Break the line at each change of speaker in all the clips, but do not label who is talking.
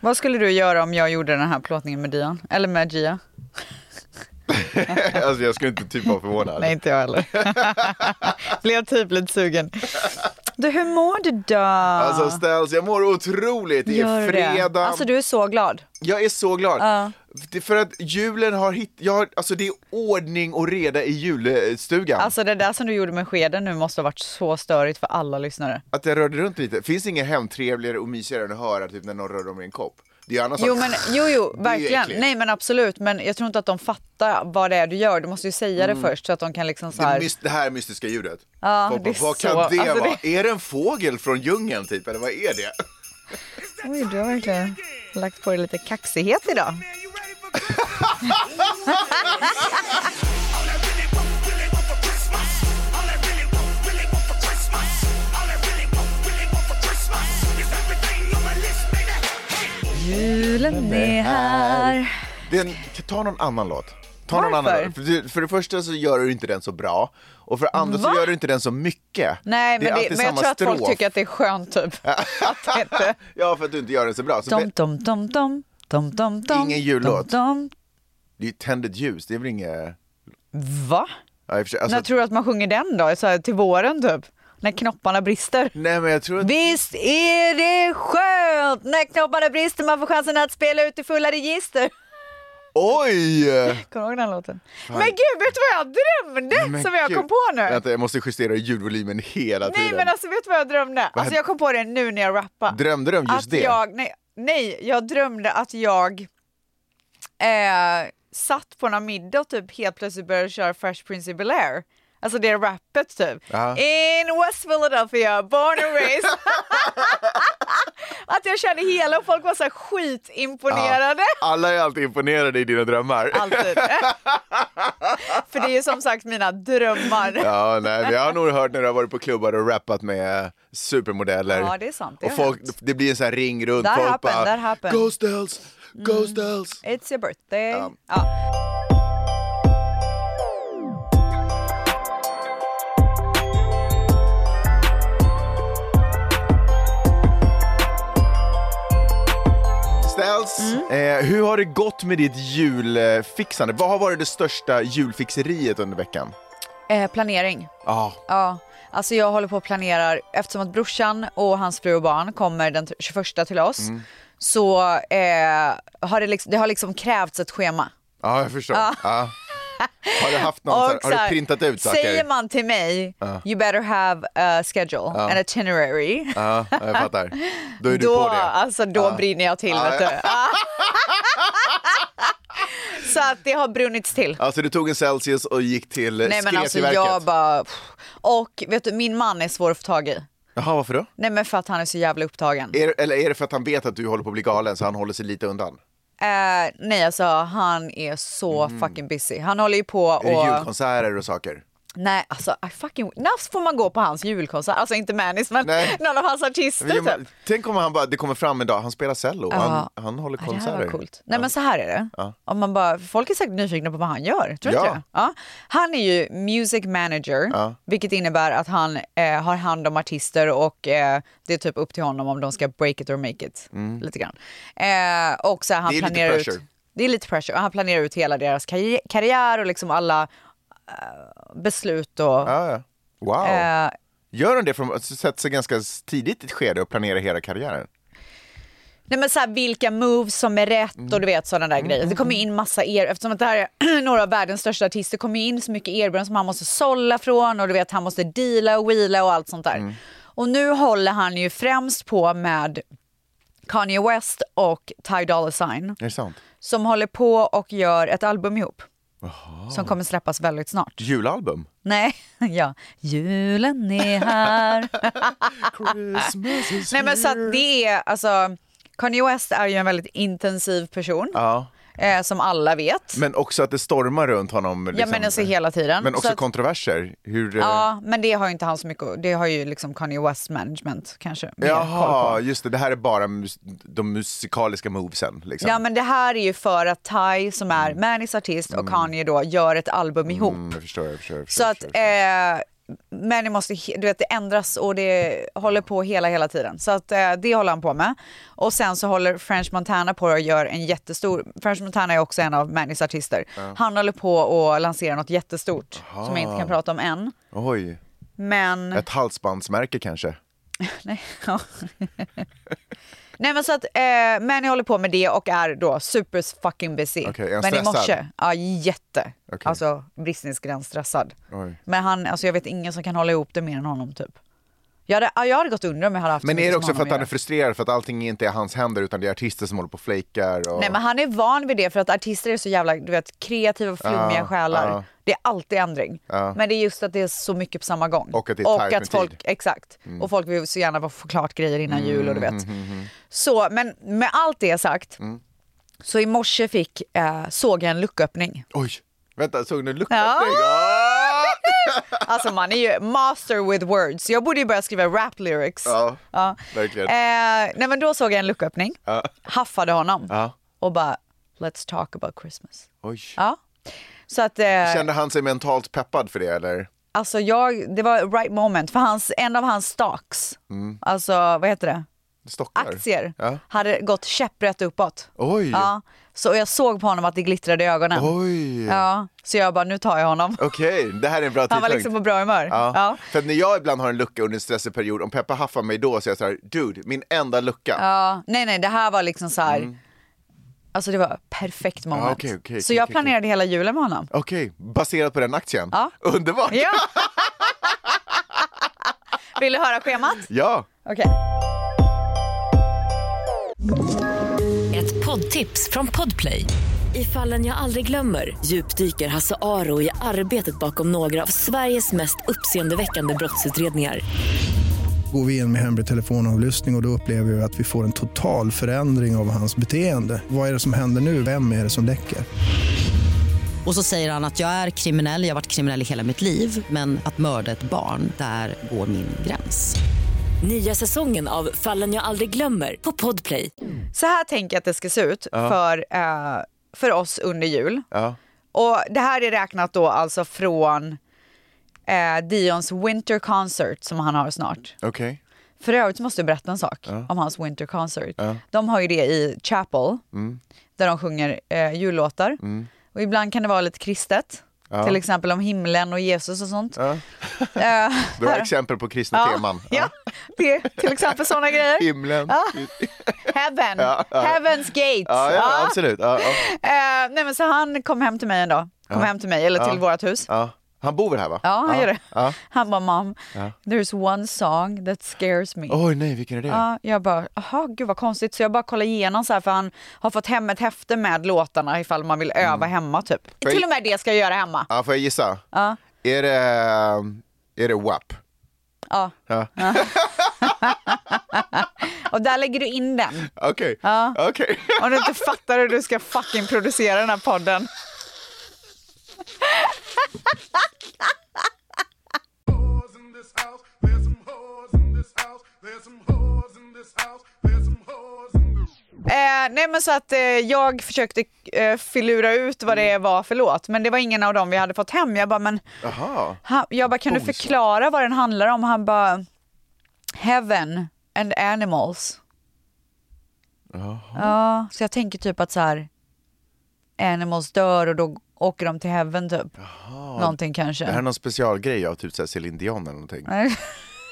Vad skulle du göra om jag gjorde den här plåtningen med Dion? Eller med Gia?
alltså jag skulle inte typ vara förvånad.
Nej, inte jag heller. Blev typ lite sugen. Du, hur mår du då?
Alltså Ställs, jag mår otroligt. Det är
Gör det.
fredag.
Alltså du är så glad.
Jag är så glad.
Ja.
Det- För att julen har hitt... Jag har... Alltså det är ordning och reda i julstugan.
Alltså det där som du gjorde med skeden nu måste ha varit så störigt för alla lyssnare.
Att jag rörde runt lite. Finns inget hem trevligare och mysigare än att höra typ när någon rör om i en kopp? Det är ju annars
Jo,
så-
men, jo, jo
ju
verkligen.
äckligt.
Nej, men absolut. Men jag tror inte att de fattar vad det är du gör. Du måste ju säga det först så att de kan liksom så
Mm. Det,
här.
mys- det här mystiska ljudet.
Ja,
Folk
det är
bara, vad
så-
kan det
alltså,
vara? Är det en fågel från djungeln typ, eller vad är det?
Oj, du har verkligen lagt på dig lite kaxighet idag. Julen är här.
Det är en, ta någon annan låt. Ta någon
Varför?
annan låt. För, du- för det första så gör du inte den så bra, och för det andra
Va?
så gör du inte den så mycket.
Nej,
det är
men, det,
alltid
men jag
samma
tror att folk
strof.
tycker att det är skönt typ. Att det inte...
Ja, för att du inte gör den så bra. Så
Dom,
det,
dom, dom, dom, dom, dom, dom.
Ingen jullåt.
Dom, dom.
det är ju tänd ett ljus, det är väl inget...
Va?
Ja, i och för sig,
När
alltså,
tror du att man sjunger den då? Så här, till våren typ? När knopparna brister?
nej, men jag tror att...
Visst är det skönt när knopparna brister man får chansen att spela ut i fulla register.
Oj!
Kommer du ihåg den låten? Men gud, vet du vad jag drömde
Men
som jag
gud.
kom på nu?
Vänta, jag måste justera ljudvolymen hela
Nej
tiden.
men alltså vet du vad jag drömde? Alltså jag kom på det nu när jag rappade.
Drömde du om just
att
det?
Alltså, Jag, nej, nej, jag drömde att jag eh, satt på någon middag och typ helt plötsligt började köra Fresh Prince of Bel-Air. Alltså det rappet typ.
Ja.
In West Philadelphia, born and raised. att jag körde hela och folk var så här skitimponerade.
Alla är alltid imponerade i dina drömmar.
Alltid. För det är ju som sagt mina drömmar.
Ja, nej, men jag har nog hört när du har varit på klubbar och rappat med eh, supermodeller.
Ja, det är sant, det
och
har
folk,
hänt.
det blir en sån här ring runt.
That
folk
happened,
bara,
that happened.
Go Stels,
Mm.
go Stels.
It's your birthday.
Ja.
Ja.
Stels, eh, hur har det gått med ditt julfixande? Vad har varit det största julfixeriet under veckan?
Eh, planering.
Ja,
Ja, alltså jag håller på och planerar eftersom att brorsan och hans fru och barn kommer den 21 till oss
Mm.
så eh, har det, liksom, det har liksom krävts ett schema.
ja jag förstår. Ja. Har du haft någon, så här-
Och så
har
här,
du printat ut saker?
Säger man till mig you better have a schedule, an itinerary.
Ja, jag fattar. Då är du
då,
på det.
alltså, då brinner jag till.
Ja,
Vet du. så att det har brunnits till.
Alltså du tog en Celsius och gick till
Nej men
skrev
alltså
till verket.
jag bara... Och vet du, min man är svår att få tag i.
Jaha, varför då?
Nej men för att han är så jävla upptagen.
Är, eller är det för att han vet att du håller på att bli galen så han håller sig lite undan?
Eh, nej, alltså han är så fucking busy. Han håller ju på
Mm. Är det
och...
julkonserter och saker?
Nej, alltså I fucking... När får man gå på hans julkonsert? Alltså inte Manis, men
Nej.
någon av hans artister
Jo, men
typ.
Tänk om han bara, det kommer fram en dag, han spelar cello,
Ja.
han, han håller
Ja, Det här
konserter.
var coolt. Nej men så här är det. Om man bara, folk är säkert nyfikna på vad han gör. Tror du
Ja.
inte det? Ja. Han är ju music manager, vilket innebär att han eh, har hand om artister och eh, det är typ upp till honom om de ska break it or make it. Lite grann. Eh, och så här, han
Mm. Det är lite
planerar ut...
pressure.
Det är lite pressure. Och han planerar ut hela deras karri- karriär och liksom alla eh, beslut och...
Ja, ja. Wow.
eh,
Gör han det från, alltså, sätter sig ganska tidigt i ett skede och planerar hela karriären?
Nej men såhär vilka moves som är rätt och du vet sådana där grejer. Det kommer in massa er, eftersom att det här är några av världens största artister, det kommer in så mycket erbjudanden som han måste sålla från och du vet han måste deala och wheela och allt sånt där. Och nu håller han ju främst på med Kanye West och Ty Dolla Sign
Är det sant?
som håller på och gör ett album ihop. Som kommer släppas väldigt snart.
Julalbum?
Nej, ja. Julen är här.
Christmas is
Nej men så
here.
att det är alltså Kanye West är ju en väldigt intensiv person.
Ja.
eh, som alla vet.
Men också att det stormar runt honom. Liksom.
ja, men alltså hela tiden.
Men
Så
också
att-
kontroverser. Hur, eh,
Ja, men det har ju inte han så mycket Det har ju liksom Kanye West management kanske mer koll
Jaha,
på.
just det. Det här är bara mus- de musikaliska movesen. Liksom.
Ja, men det här är ju för att Ty som är Manis artist och Kanye då gör ett album ihop.
Mm, jag förstår, jag förstår. Jag förstår,
Så
jag
att,
förstår.
eh, men det, måste, he- du vet, det ändras och det håller på hela, hela tiden. Så att, eh, det håller han på med. Och sen så håller French Montana på och gör en jättestor, French Montana är också en av Mannys artister. Han håller på och lanserar något jättestort som jag inte kan prata om än.
Oj.
Men...
Ett halsbandsmärke kanske?
Nej, ja. Nej men så att eh, Manny håller på med det och är då super fucking busy.
Okej, är han
men i
stressad?
morse, ja jätte.
Okej.
Alltså bristningsgräns stressad.
Oj.
Men han, alltså jag vet ingen som kan hålla ihop det mer än honom typ. Jag hade, ja, jag hade gått under om jag hade haft så
Men är
mycket
det
som
också för att
honom
han
göra.
är frustrerad för att allting inte är hans händer utan det är artister som håller på och flakar? Och...
Nej men han är van vid det för att artister är så jävla du vet, kreativa och flummiga
Ja,
själar.
ja.
Det är alltid ändring.
Ja.
Men det är just att det är så mycket på samma gång.
Och att det är tajt med
att folk,
tid. Mm.
Exakt. Och folk vill så gärna få klart grejer innan jul och du vet. Så, men med allt det sagt.
Mm.
Så i morse fick, eh, såg jag en lucköppning.
Oj! Vänta, såg du luckan?
Ja.
Ja.
Alltså man är ju master with words. Jag borde ju börja skriva rap lyrics.
Ja,
Ja.
verkligen.
Eh, nej men då såg jag en lucköppning,
Ja.
haffade honom
Ja.
och bara let's talk about Christmas.
Oj.
Ja. Så att, eh,
Kände han sig mentalt peppad för det eller?
alltså jag, det var right moment för hans, en av hans stocks, alltså vad heter det,
Stockar?
aktier,
Mm. Ja.
hade gått käpprätt uppåt.
Oj!
Ja. Så och jag såg på honom att det glittrade i ögonen.
Oj!
Ja. Så jag bara, nu tar jag honom.
Okej, det här är en bra
Han var
tidpunkt.
liksom på bra humör.
Ja.
Ja.
För att när jag ibland har en lucka under en stressig period, om Peppa haffar mig då så är jag så här, dude, min enda lucka.
Ja, nej nej det här var liksom så här. Alltså det var perfekt moment.
Mm. Ja, okej, okej,
så
okej,
jag
okej,
planerade hela julen med honom.
Okej, baserat på den aktien?
Ja.
Underbart!
Ja. Vill du höra schemat?
Ja.
Okej.
Ett poddtips från Podplay. I fallen jag aldrig glömmer djupdyker Hasse Aro i arbetet bakom några av Sveriges mest uppseendeväckande brottsutredningar.
Går vi in med hemlig telefonavlyssning och, och då upplever vi att vi får en total förändring av hans beteende. Vad är det som händer nu? Vem är det som läcker?
Och så säger han att jag är kriminell, jag har varit kriminell i hela mitt liv men att mörda ett barn, där går min gräns.
Nya säsongen av Fallen jag aldrig glömmer på Podplay.
Så här tänker jag att det ska se ut för, eh, för oss under jul.
ja.
Och det här är räknat då alltså från eh, Dions Winter Concert som han har snart.
Okej.
För övrigt så måste jag berätta en sak om hans Winter Concert. De har ju det i Chapel, där de sjunger eh, jullåtar. Och ibland kan det vara lite kristet, till exempel om himlen och Jesus och sånt. Ja.
Du har exempel på kristna teman.
ja, det är till exempel sådana grejer.
Himlen.
Ja. Heaven, heaven's gate.
Ja, ja,
Ja.
absolut. Ja, ja.
Eh, nej men så han kom hem till mig en dag, kom hem till mig, eller till vårt hus.
Ja. Han bor väl här va?
Ja, han gör det.
Ja.
Han bara, mom, there's one song that scares me.
Oj nej, vilken är det?
Ja, jag bara, aha, gud vad konstigt. Så jag bara kollar igenom så här för han har fått hem ett häfte med låtarna ifall man vill öva hemma typ.
Mm. För-
Till och med det ska jag göra hemma.
Ja, får jag gissa?
Ja.
Är det, eh, är det WAP?
Ja.
Ja.
Och där lägger du in den.
Okej.
Ja.
Okej.
Om du inte fattar hur du ska fucking producera den här podden.
whores in this house. There's some whores in this house. There's some whores in this house. There's some whores in this.
Eh, nej men så att eh, jag försökte eh, filura ut vad
Mm.
det var för låt men det var ingen av dem vi hade fått hem. Jag bara, men
Jaha.
Han, jag bara, kan du förklara vad den handlar om? Han bara, heaven and animals. Ja, så jag tänker typ att så här, animals dör och då åker de till heaven typ. Någonting kanske.
Det här är någon specialgrej av typ så här Céline Dion eller någonting.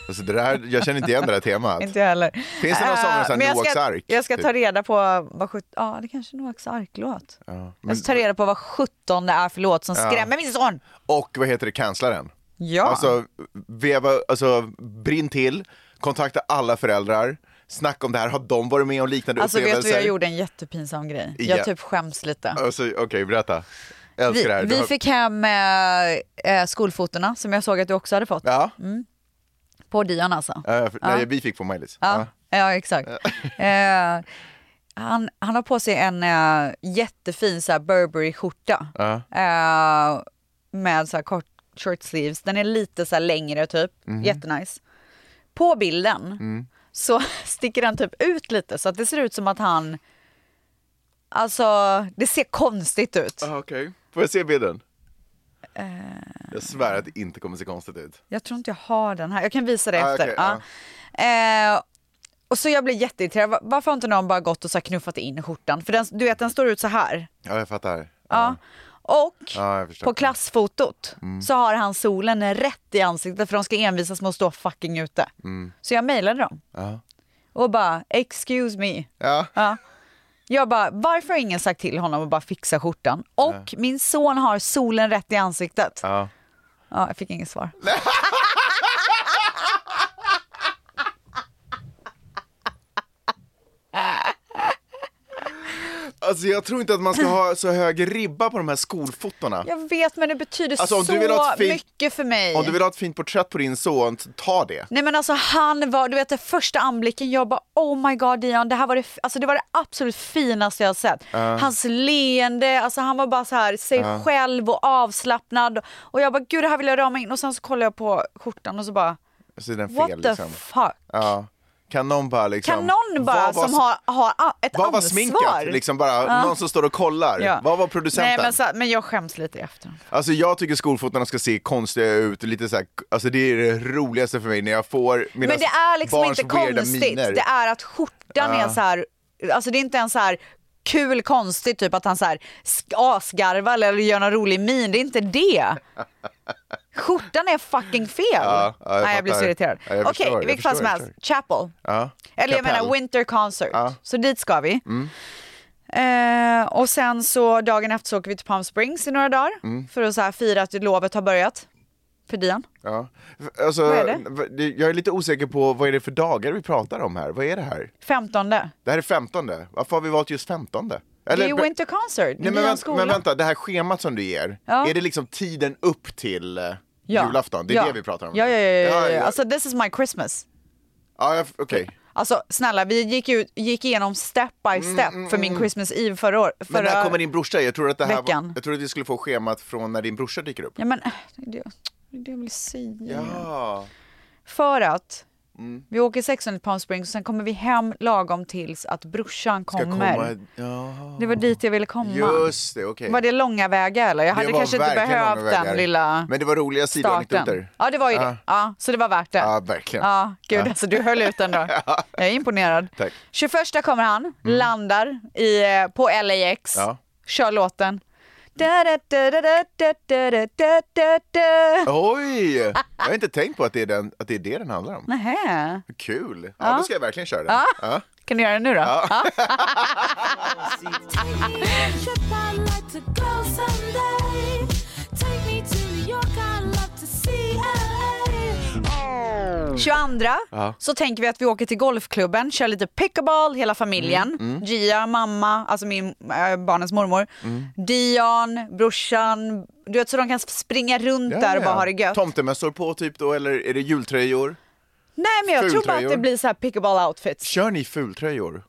Alltså, det där, jag känner inte igen det här temat.
Inte jag heller.
Finns det någon sång med
Eh,
sån här
men jag ska-
Noaks ark,
Jag ska
typ?
ta reda på vad sjut- ja det kanske är Noaks ark-låt.
Ja. Men,
Jag ska Alltså, ta reda på vad sjutton det är för låt som skrämmer min son.
och vad heter det, kanslaren?
Ja.
Alltså, veva, alltså, brinn till, kontakta alla föräldrar, snacka om det här, har de varit med om liknande
Alltså vet du,
upplevelser?
jag gjorde en jättepinsam grej.
Ja.
Jag typ skäms lite.
Alltså, Okej, berätta. Jag älskar
Vi,
det här. Du
vi
har-
fick hem eh, eh, skolfotorna som jag såg att du också hade fått.
Ja,
På Dion alltså. Ja,
ja. för- Nej, vi fick på Maj-Lis.
ja. exakt. eh, han, han har på sig en eh, jättefin så här Burberry-skjorta.
Ja.
Eh, med så här kort short sleeves. Den är lite så här längre typ. Jättenice. På bilden så sticker den typ ut lite så att det ser ut som att han Alltså det ser konstigt ut.
Ah, Okej, får jag se bilden?
Eh.
Jag svär att det inte kommer se konstigt ut.
Jag tror inte jag har den här. Jag kan visa det
Ah,
efter.
okej,
ja. Eh, och så jag blev jätteirriterad. Va- Varför har inte någon bara gått och så här knuffat in skjortan? För den, du vet, den står ut så här.
Ja, jag fattar.
Ja. Och
Ja, jag förstår. Mm.
på klassfotot så har han solen rätt i ansiktet för de ska envisas med att stå fucking ute.
Mm.
Så jag mejlade dem
Ja.
och bara “excuse me”.
Ja.
Ja. Jag bara, varför har ingen sagt till honom att bara fixa skjortan? Och min son har solen rätt i ansiktet. Ja.
Ja.
jag fick inget svar.
Alltså jag tror inte att man ska ha så hög ribba på de här skolfotona.
Jag vet, men det betyder
Alltså, om
så
du vill ha ett fint-
mycket för mig.
Om du vill ha ett fint porträtt på din son, ta det.
Nej men alltså han var, du vet den första anblicken, jag bara oh my god Dion, det här var det, f- alltså, det, var det absolut finaste jag har sett. Hans leende, alltså han var bara så här sig själv och avslappnad. Och jag bara gud det här vill jag rama in och sen så kollar jag på skjortan och så bara
Så är den
what
fel
the
liksom.
fuck.
Ja. Kan någon bara liksom...
Kan någon bara
Vad var-
som har, har a- ett
Vad var
ansvar.
sminkat? Liksom bara, Någon som står och kollar.
Ja.
Vad var
Nej
producenten?
men, så, men jag skäms lite i efterhand.
Alltså jag tycker skolfotona ska se konstiga ut, lite så här, alltså det är det roligaste för mig när jag får mina
Men det är liksom
barns
inte
weirda
konstigt,
miner.
det är att skjortan är så här, alltså det är inte ens så här kul konstigt typ att han så här sk- asgarvar eller gör någon rolig min, det är inte det. Skjortan är fucking fel.
Ja, ja, jag
Nej jag blir så
fattar.
irriterad.
Ja, jag förstår,
Okej, i
jag
vilket fall som
förstår, jag
helst, Chapel.
Ja.
Eller jag
Kapell.
menar Winter Concert.
Ja. Mm.
Så dit ska vi. Eh, och sen så dagen efter så åker vi till Palm Springs i några dagar
Mm.
för att så här fira att lovet har börjat. För Dion.
Ja. Alltså,
Vad är det?
v- det? Jag är lite osäker på vad är det för dagar vi pratar om här? Vad är det här?
15. Det
Det här är 15. Varför har vi valt just 15?
är ju Winter Concert.
Nej, men, vänta, men vänta, det här schemat som du ger,
Ja.
är det liksom tiden upp till eh, julafton? Det är
ja.
det vi pratar om?
Ja, ja, ja. ja, ja,
ja.
Alltså this is my Christmas.
ja jag- okej.
Alltså snälla, vi gick, ut, gick igenom step by step för min Christmas Eve förra året.
Mm, Men när kommer din brorsa? Jag tror att det här
veckan.
var, jag tror att vi skulle få schemat från när din brorsa dyker upp.
Ja men, äh, det är det- det är det jag vill säga.
Ja. Mm.
För att vi åker 16 till Palm Springs och sen kommer vi hem lagom tills att brorsan
Ska
kommer.
komma- Ja.
Det var dit jag ville komma.
Just det, okej.
Var det långa vägar eller? Jag hade
var
kanske inte
verkligen långa
behövt den
vägar.
lilla
Men det var roliga
starten.
sidoanekdoter.
Ja det var ju det. Ja, så det var värt det.
Ja, verkligen.
Ja, gud alltså du höll ut ändå. Jag är imponerad.
Tack. Mm.
21 kommer han, landar i, eh, på LAX,
Ja.
kör låten. Da, da, da, da, da, da, da, da, da, da, da.
Oj! Jag har inte tänkt på att det är, den, att det, är det den handlar om.
Nähä.
Kul! Ja, då ska jag verkligen köra den. Ja.
Kan du göra det nu då? Ja.
Take me to New York, I love to see LA.
22 så tänker vi att vi åker till golfklubben, kör lite pickleball hela familjen.
Mm,
Gia, mamma, alltså min, äh, barnens mormor,
Mm.
Dion, brorsan. Du vet så de kan springa runt där och bara ha det gött.
Tomtemössor på typ då, eller är det jultröjor?
Nej men jag tror bara att
Fultröjor.
det blir så här pickleball outfits.
Kör ni fultröjor?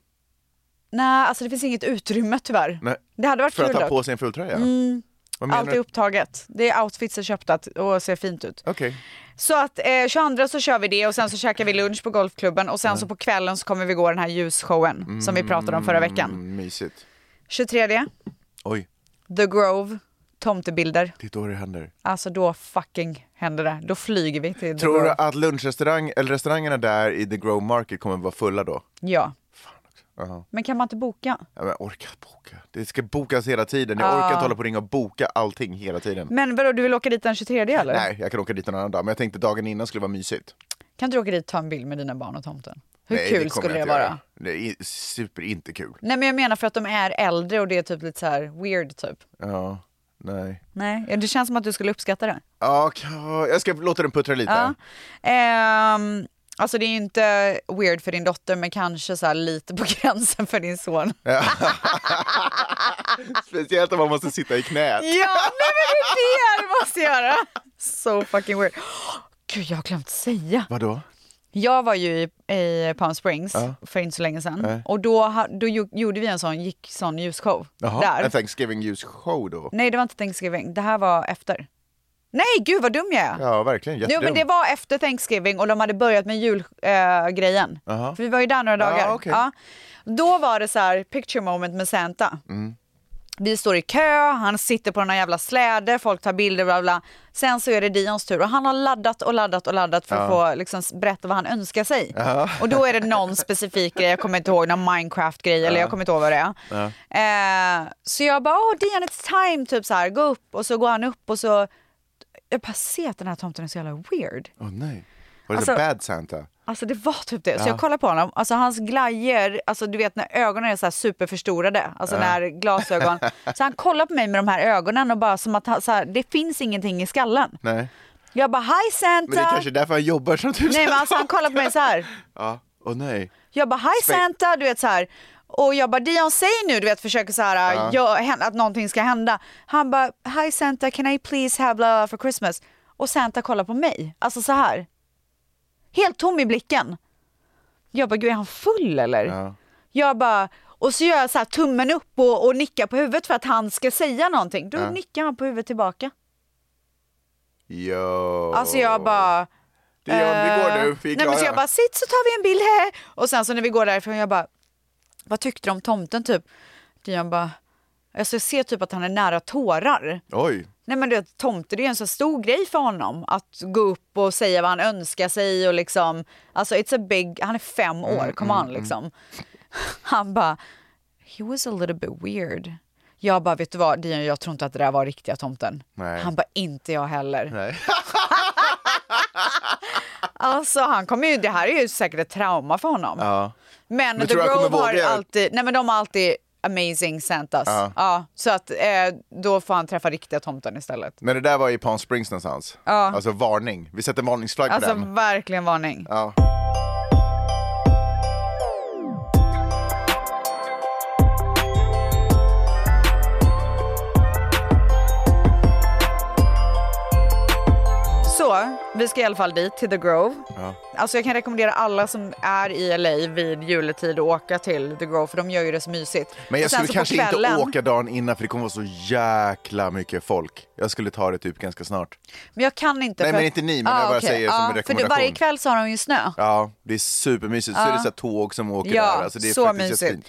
Nej alltså det finns inget utrymme tyvärr.
Nej.
Det hade varit
För att
kul
ta
dock.
på sig en fultröja? Mm. Vad menar
Allt är
du?
upptaget. Det är outfits är köpta att- och ser fint ut.
Okej.
Så att eh, 22 så kör vi det och sen så käkar vi lunch på golfklubben
Mm.
och sen så på kvällen så kommer vi gå den här ljusshowen som vi pratade om förra veckan.
Mm, mysigt.
23
Oj,
The Grove, tomtebilder.
det är då det händer.
Alltså då fucking händer det. Då flyger vi till The
Tror du
Grove.
att lunchrestaurang, eller restaurangerna där i The Grove Market kommer vara fulla då?
Ja.
Ja.
Men kan man inte boka?
Ja, men orka boka. Det ska bokas hela tiden. Jag orkar
Ah.
inte hålla på och ringa och boka allting hela tiden.
Men vadå, du vill åka dit den 23 Mm, eller?
Nej, jag kan åka dit en annan dag. Men jag tänkte dagen innan skulle vara mysigt.
Kan inte du åka dit och ta en bild med dina barn och tomten? Hur
Nej,
kul
kommer
skulle
jag
det
inte
vara?
göra. Det är super inte kul.
Nej men jag menar för att de är äldre och det är typ lite så här weird typ.
Ja, nej.
Nej, ja, det känns som att du skulle uppskatta det.
Ja, ka- jag ska låta den puttra lite.
Ja. Ehm, alltså det är ju inte weird för din dotter men kanske så här lite på gränsen för din son.
Speciellt om man måste sitta i
Ja,
knät.
nej men det är det du måste göra! So fucking weird. Gud, jag har glömt säga.
Vadå?
Jag var ju i, i Palm Springs för inte så länge sedan och då, ha- då gjo- gjorde vi en sån, gick, sån ljusshow
Jaha,
där.
en Thanksgiving News show då?
Nej, det var inte Thanksgiving. Det här var efter. Nej, gud vad dum jag är.
Ja, verkligen.
Jo,
Jättedum.
men det var efter Thanksgiving och de hade börjat med julgrejen. Äh, grejen.
Jaha.
För vi var ju där några dagar.
Ja, okej.
Ja. Då var det så här picture moment med Santa. Vi står i kö, han sitter på några jävla släder, folk tar bilder, bla bla. Sen så är det Dions tur och han har laddat och laddat och laddat för att få liksom, berätta vad han önskar sig. Och då är det någon specifik grej, jag kommer inte ihåg, någon Minecraft-grej eller jag kommer inte ihåg vad det är. Eh, så jag bara, åh Dion it's time, typ så här, gå upp och så går han upp och så jag bara ser att den här tomten är så jävla weird.
Åh nej. Var det
Alltså-
så bad Santa?
Alltså det var typ det. Så jag kollar på honom, alltså hans glajjor, alltså du vet när ögonen är så här superförstorade, alltså när glasögon. Så han kollar på mig med de här ögonen och bara som att han, så här, det finns ingenting i skallen.
Nej.
Jag bara hi Santa!
Men det är kanske därför han jobbar som tusan.
Nej men alltså han kollar på mig så här.
Ja, åh nej.
Jag bara hi
Spe-
Santa, du vet så här. Och jag bara Dion säg nu, du vet försöker så här, gör- hän- att någonting ska hända. Han bara hi Santa, can I please have blah for Christmas? Och Santa kollar på mig, alltså så här. Helt tom i blicken. Jag bara gud är han full eller?
Ja.
Jag bara, och så gör jag så här tummen upp och, och nickar på huvudet för att han ska säga någonting. Då nickar han på huvudet tillbaka.
Yo.
Alltså jag bara...
Det är vi går nu. Vi är
Eh, Nej, men så
klara.
jag bara, sitt så tar vi en bild här. Och sen så när vi går därifrån, jag bara, vad tyckte du om tomten typ? Dion bara, alltså jag ser typ att han är nära tårar.
Oj.
Nej men du vet, tomte det är ju en så stor grej för honom att gå upp och säga vad han önskar sig och liksom, alltså it's a big, han är fem
Mm,
år, come on liksom. Han bara, he was a little bit weird. Jag bara, vet du vad Dion, jag tror inte att det där var riktiga tomten.
Nej.
Han bara, inte jag heller.
Nej.
Alltså han kommer ju, det här är ju säkert ett trauma för honom.
Ja.
Men,
Men
The
tror jag
Grove
kommer
har
våga-
alltid, nej men de har alltid amazing Santas.
Ja.
Ja, så att eh, då får han träffa riktiga tomten istället.
Men det där var i Palm Springs någonstans.
Ja.
Alltså varning. Vi sätter en varningsflagg
Alltså
på den.
verkligen varning.
Ja.
Så, vi ska i alla fall dit, till The Grove.
Ja.
Alltså jag kan rekommendera alla som är i LA vid juletid att åka till The Grove för de gör ju det så mysigt.
Men jag
Och sen
skulle
så på
kanske inte
kvällen-
åka dagen innan för det kommer vara så jäkla mycket folk. Jag skulle ta det typ ganska snart.
Men jag kan inte.
Nej,
för
men
att- Ah,
inte ni, men jag bara
okej.
säger som en
För det-
rekommendation.
varje kväll så har de ju snö.
Ja, det är supermysigt. Så är det så här tåg som åker
Ja,
där. Alltså det är
så
faktiskt
mysigt.
jättefint.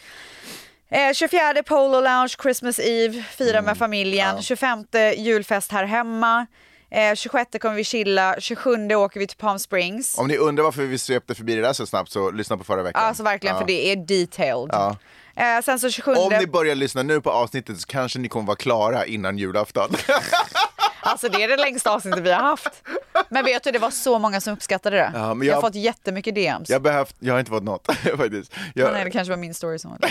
Eh, 24 Polo Lounge, Christmas Eve, fira
Mm.
med familjen. 25 julfest här hemma. Eh, 26 kommer vi chilla. 27 åker vi till Palm Springs.
Om ni undrar varför vi svepte förbi det där så snabbt så lyssna på förra veckan.
Alltså verkligen, för det är detailed. Eh, sen så 27...
Om ni börjar lyssna nu på avsnittet så kanske ni kommer vara klara innan julafton.
Alltså det är det längsta avsnittet vi har haft. Men vet du, det var så många som uppskattade det.
Ja, men
jag... har
jag-
fått jättemycket DMs.
jag, behövt, jag har inte fått något faktiskt.
Men Nej, det
Jag,
kanske var min story som var det.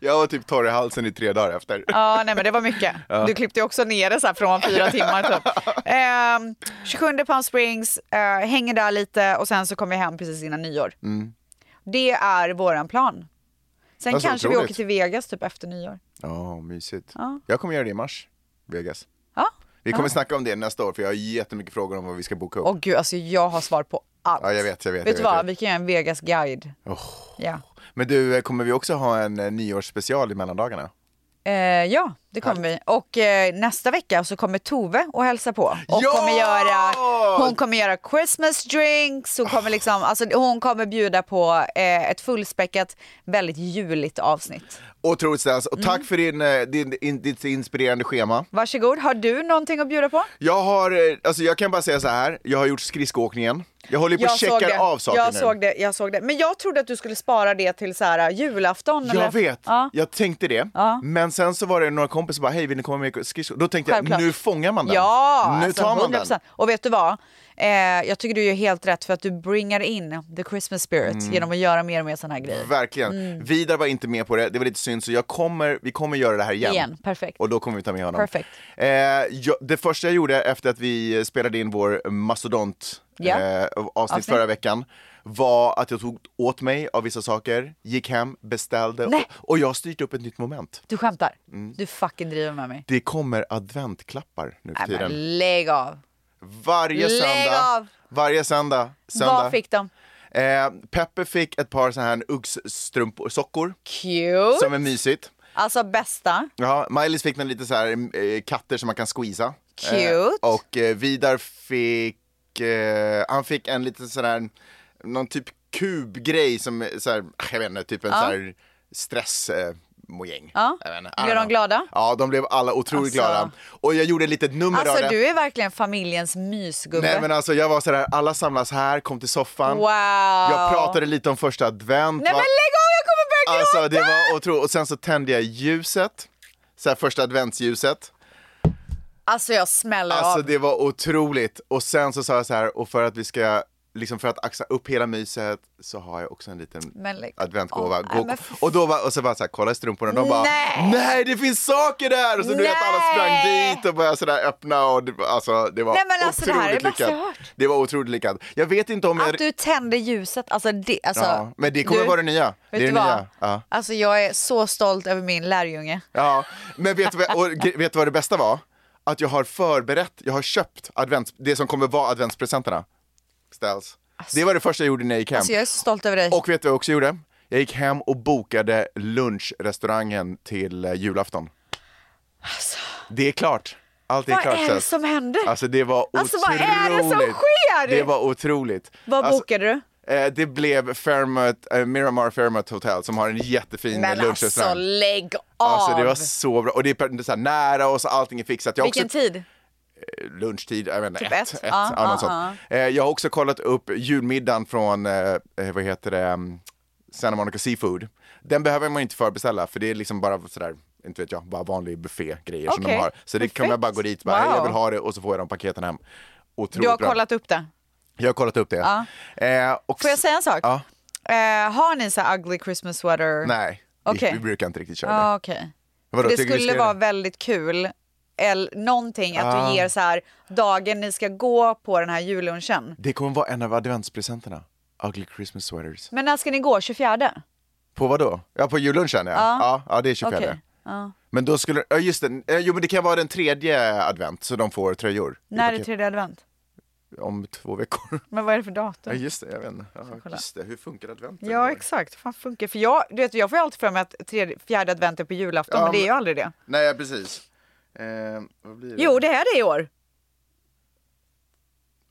jag var typ torr i halsen i tre dagar efter.
Ja, nej men det var mycket. Du klippte ju också ner det så här från fyra timmar typ. Ehm, 27 Palm Springs, eh, hänger där lite och sen så kommer jag hem precis innan nyår. Det är våran plan. Sen
Mm. Alltså,
kanske vi
otroligt.
åker till Vegas typ efter nyår.
Ja, mysigt.
Ja.
Jag kommer göra det i mars, Vegas.
Ja.
Vi kommer snacka om det nästa år för jag har jättemycket frågor om vad vi ska boka upp.
Åh gud, alltså jag har svar på allt.
Ja, jag vet, jag vet,
Vet
jag
du
vet,
vad,
jag vet.
vi kan göra en Vegas-guide. Ja.
Men du, eh, kommer vi också ha en eh, nyårsspecial i mellandagarna?
Eh, ja, det kommer vi. Och eh, nästa vecka så kommer Tove och hälsa på. Och
Ja!
kommer göra, hon kommer göra Christmas drinks, hon
Ah.
kommer, liksom, alltså, hon kommer bjuda på eh, ett fullspäckat, väldigt juligt avsnitt.
Otroligt Stas, och
Mm.
tack för din, eh, din, in, ditt inspirerande schema.
Varsågod, har du någonting att bjuda på?
Jag har, eh, alltså jag kan bara säga så här, jag har gjort skridskoåkningen. Jag håller ju på att checka av saker
jag
nu.
såg det, jag såg det. Men jag trodde att du skulle spara det till så här, julafton.
Jag
eller?
vet,
Ja.
jag tänkte det. Men sen så var det några kompisar som bara, hej vill ni komma med i skridskor? Då tänkte
Självklart.
jag, nu fångar man den.
Ja,
nu
alltså
tar man
100%.
den.
Och vet du vad? Eh, jag tycker du är helt rätt för att du bringar in the Christmas spirit
Mm.
genom att göra mer och mer sådana här grejer.
Verkligen.
Mm.
Vidar var inte med på det, det var lite synd så jag kommer, vi kommer göra det här igen.
Igen, perfekt.
Och då kommer vi ta med honom.
Perfekt.
Eh, jag, det första jag gjorde efter att vi spelade in vår mastodont
Ja.
eh, avsnitt,
Avsnitt.
förra veckan var att jag tog åt mig av vissa saker, gick hem, beställde och,
Nej.
och jag har styrt upp ett nytt moment.
Du skämtar?
Mm.
Du fucking driver med mig.
Det kommer adventklappar nu för
Nej,
tiden.
men lägg av.
Varje
Lägg
söndag.
av!
Varje söndag. söndag.
Vad fick de?
Eh, Peppe fick ett par sådana här uggsstrumpor, sockor,
Cute.
som är mysigt.
Alltså bästa.
Ja, Miley fick den lite så här eh, katter som man kan squeeza.
Cute.
och eh, Vidar fick, eh, han fick en liten sån här, någon typ kubgrej som, är så här, jag vet inte, typ en så här stress... Eh, och gäng.
Ja.
Jag vet inte, I
Blev
don't
de
know.
glada?
Ja, de blev alla otroligt
Alltså.
glada. Och jag gjorde ett litet nummer av
Alltså
det.
du är verkligen familjens mysgubbe.
Nej men alltså jag var sådär, alla samlas här, kom till soffan.
Wow.
Jag pratade lite om första advent.
Nej
va?
men lägg av, jag kommer börja gråta!
Alltså det var otroligt. Och sen så tände jag ljuset, så här första adventsljuset.
Alltså jag smäller
Alltså
av.
det var otroligt. Och sen så sa jag så här, och för att vi ska, liksom för att axa upp hela myset så har jag också en liten
Men lägg
adventgåva.
av.
Gå-
Nej, men för-
och då var, och så var jag så här, kolla i strumporna och de bara,
Nej.
nej det finns saker där! Och så du vet alla sprang
Nej.
dit och började sådär öppna och det, alltså det var
Nej, men alltså, det här är
otroligt
det bästa
lyckat.
jag hört.
Det var otroligt lyckat. Jag vet inte om jag...
Att du tände ljuset, alltså det, alltså,
ja, men det kommer
du,
vara det nya. Det
Vet du
är det
vad?
nya. Ja.
Alltså jag är så stolt över min lärjunge.
Ja, men vet du, vad- och, gre- vet du vad det bästa var? Att jag har förberett, jag har köpt advents, det som kommer vara adventspresenterna. Ställs. det var det första jag gjorde när jag gick hem.
Alltså jag är så stolt över dig.
Och vet du vad jag också gjorde? Jag gick hem och bokade lunchrestaurangen till eh, julafton. Det är klart. Allt är
Alltså. Vad
klart.
är det
Ställs.
som händer?
Alltså det var
Alltså, vad
otroligt.
är det som sker?
Det var otroligt.
Vad
Alltså,
bokade du?
eh, det blev Fairmont, eh, Miramar Fairmont Hotel som har en jättefin eh,
Men
lunchrestaurang.
alltså lägg av!
Alltså det var så bra. Och det är per- så här nära oss, allting är fixat. Jag har
Vilken
också,
tid?
Lunchtid, jag vet inte,
Typ
ett.
ett?
ett
Ja,
ja, något
ja,
sånt. Eh, Jag har också kollat upp julmiddagen från, eh, eh, vad heter det, mm, Santa Monica Seafood. Den behöver man inte förbeställa för det är liksom bara sådär, inte vet jag, bara vanlig buffégrejer som de
Okej,
har. Så det kan
perfekt.
man bara gå dit och bara, "Hej, jag
Wow.
vill ha det och så får jag de paketen hem. Otroligt
Du har
bra.
kollat upp det.
Jag har kollat upp det. Eh, och
Får jag
s-
säga en sak?
Ja.
Eh, har ni så här ugly Christmas sweater?
Nej,
Okej.
vi, vi brukar inte riktigt köra det.
Ja, okej.
Vadå,
det
tycker vi
skulle
ska
vara
göra Ah.
väldigt kul, eller någonting, att du ger så här dagen ni ska gå på den här jullunchen.
Det kommer vara en av adventspresenterna. Ugly Christmas sweaters.
Men när ska ni gå? 24?
På vad då? Ja, på jullunchen ja. Ja, ja, det är 24.
Okej.
Men då skulle, ja just det, Eh, jo men det kan vara den tredje advent så de får tröjor. i
När typ- är
paket.
tredje advent?
Om två veckor.
Men vad är det för
Ja
datum?
just det, jag vet inte. Ja, just det, hur funkar advent?
Ja exakt, fan funkar För jag, du vet, jag får ju alltid för mig att tredje, fjärde advent är på julafton,
Ja,
men det är
men-
ju aldrig det.
Nej precis. Eh, vad blir det?
Jo det är det i år.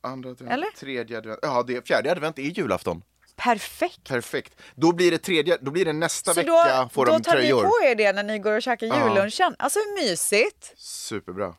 Andra advent,
eller?
tredje advent, ja det, fjärde advent är julafton.
Perfekt.
Perfekt. Då blir det tredje, då blir det nästa
Så
vecka
då,
får
då
de
tar ni
tröjor.
på er det när ni går och käkar jullunchen. Alltså hur mysigt.
Superbra.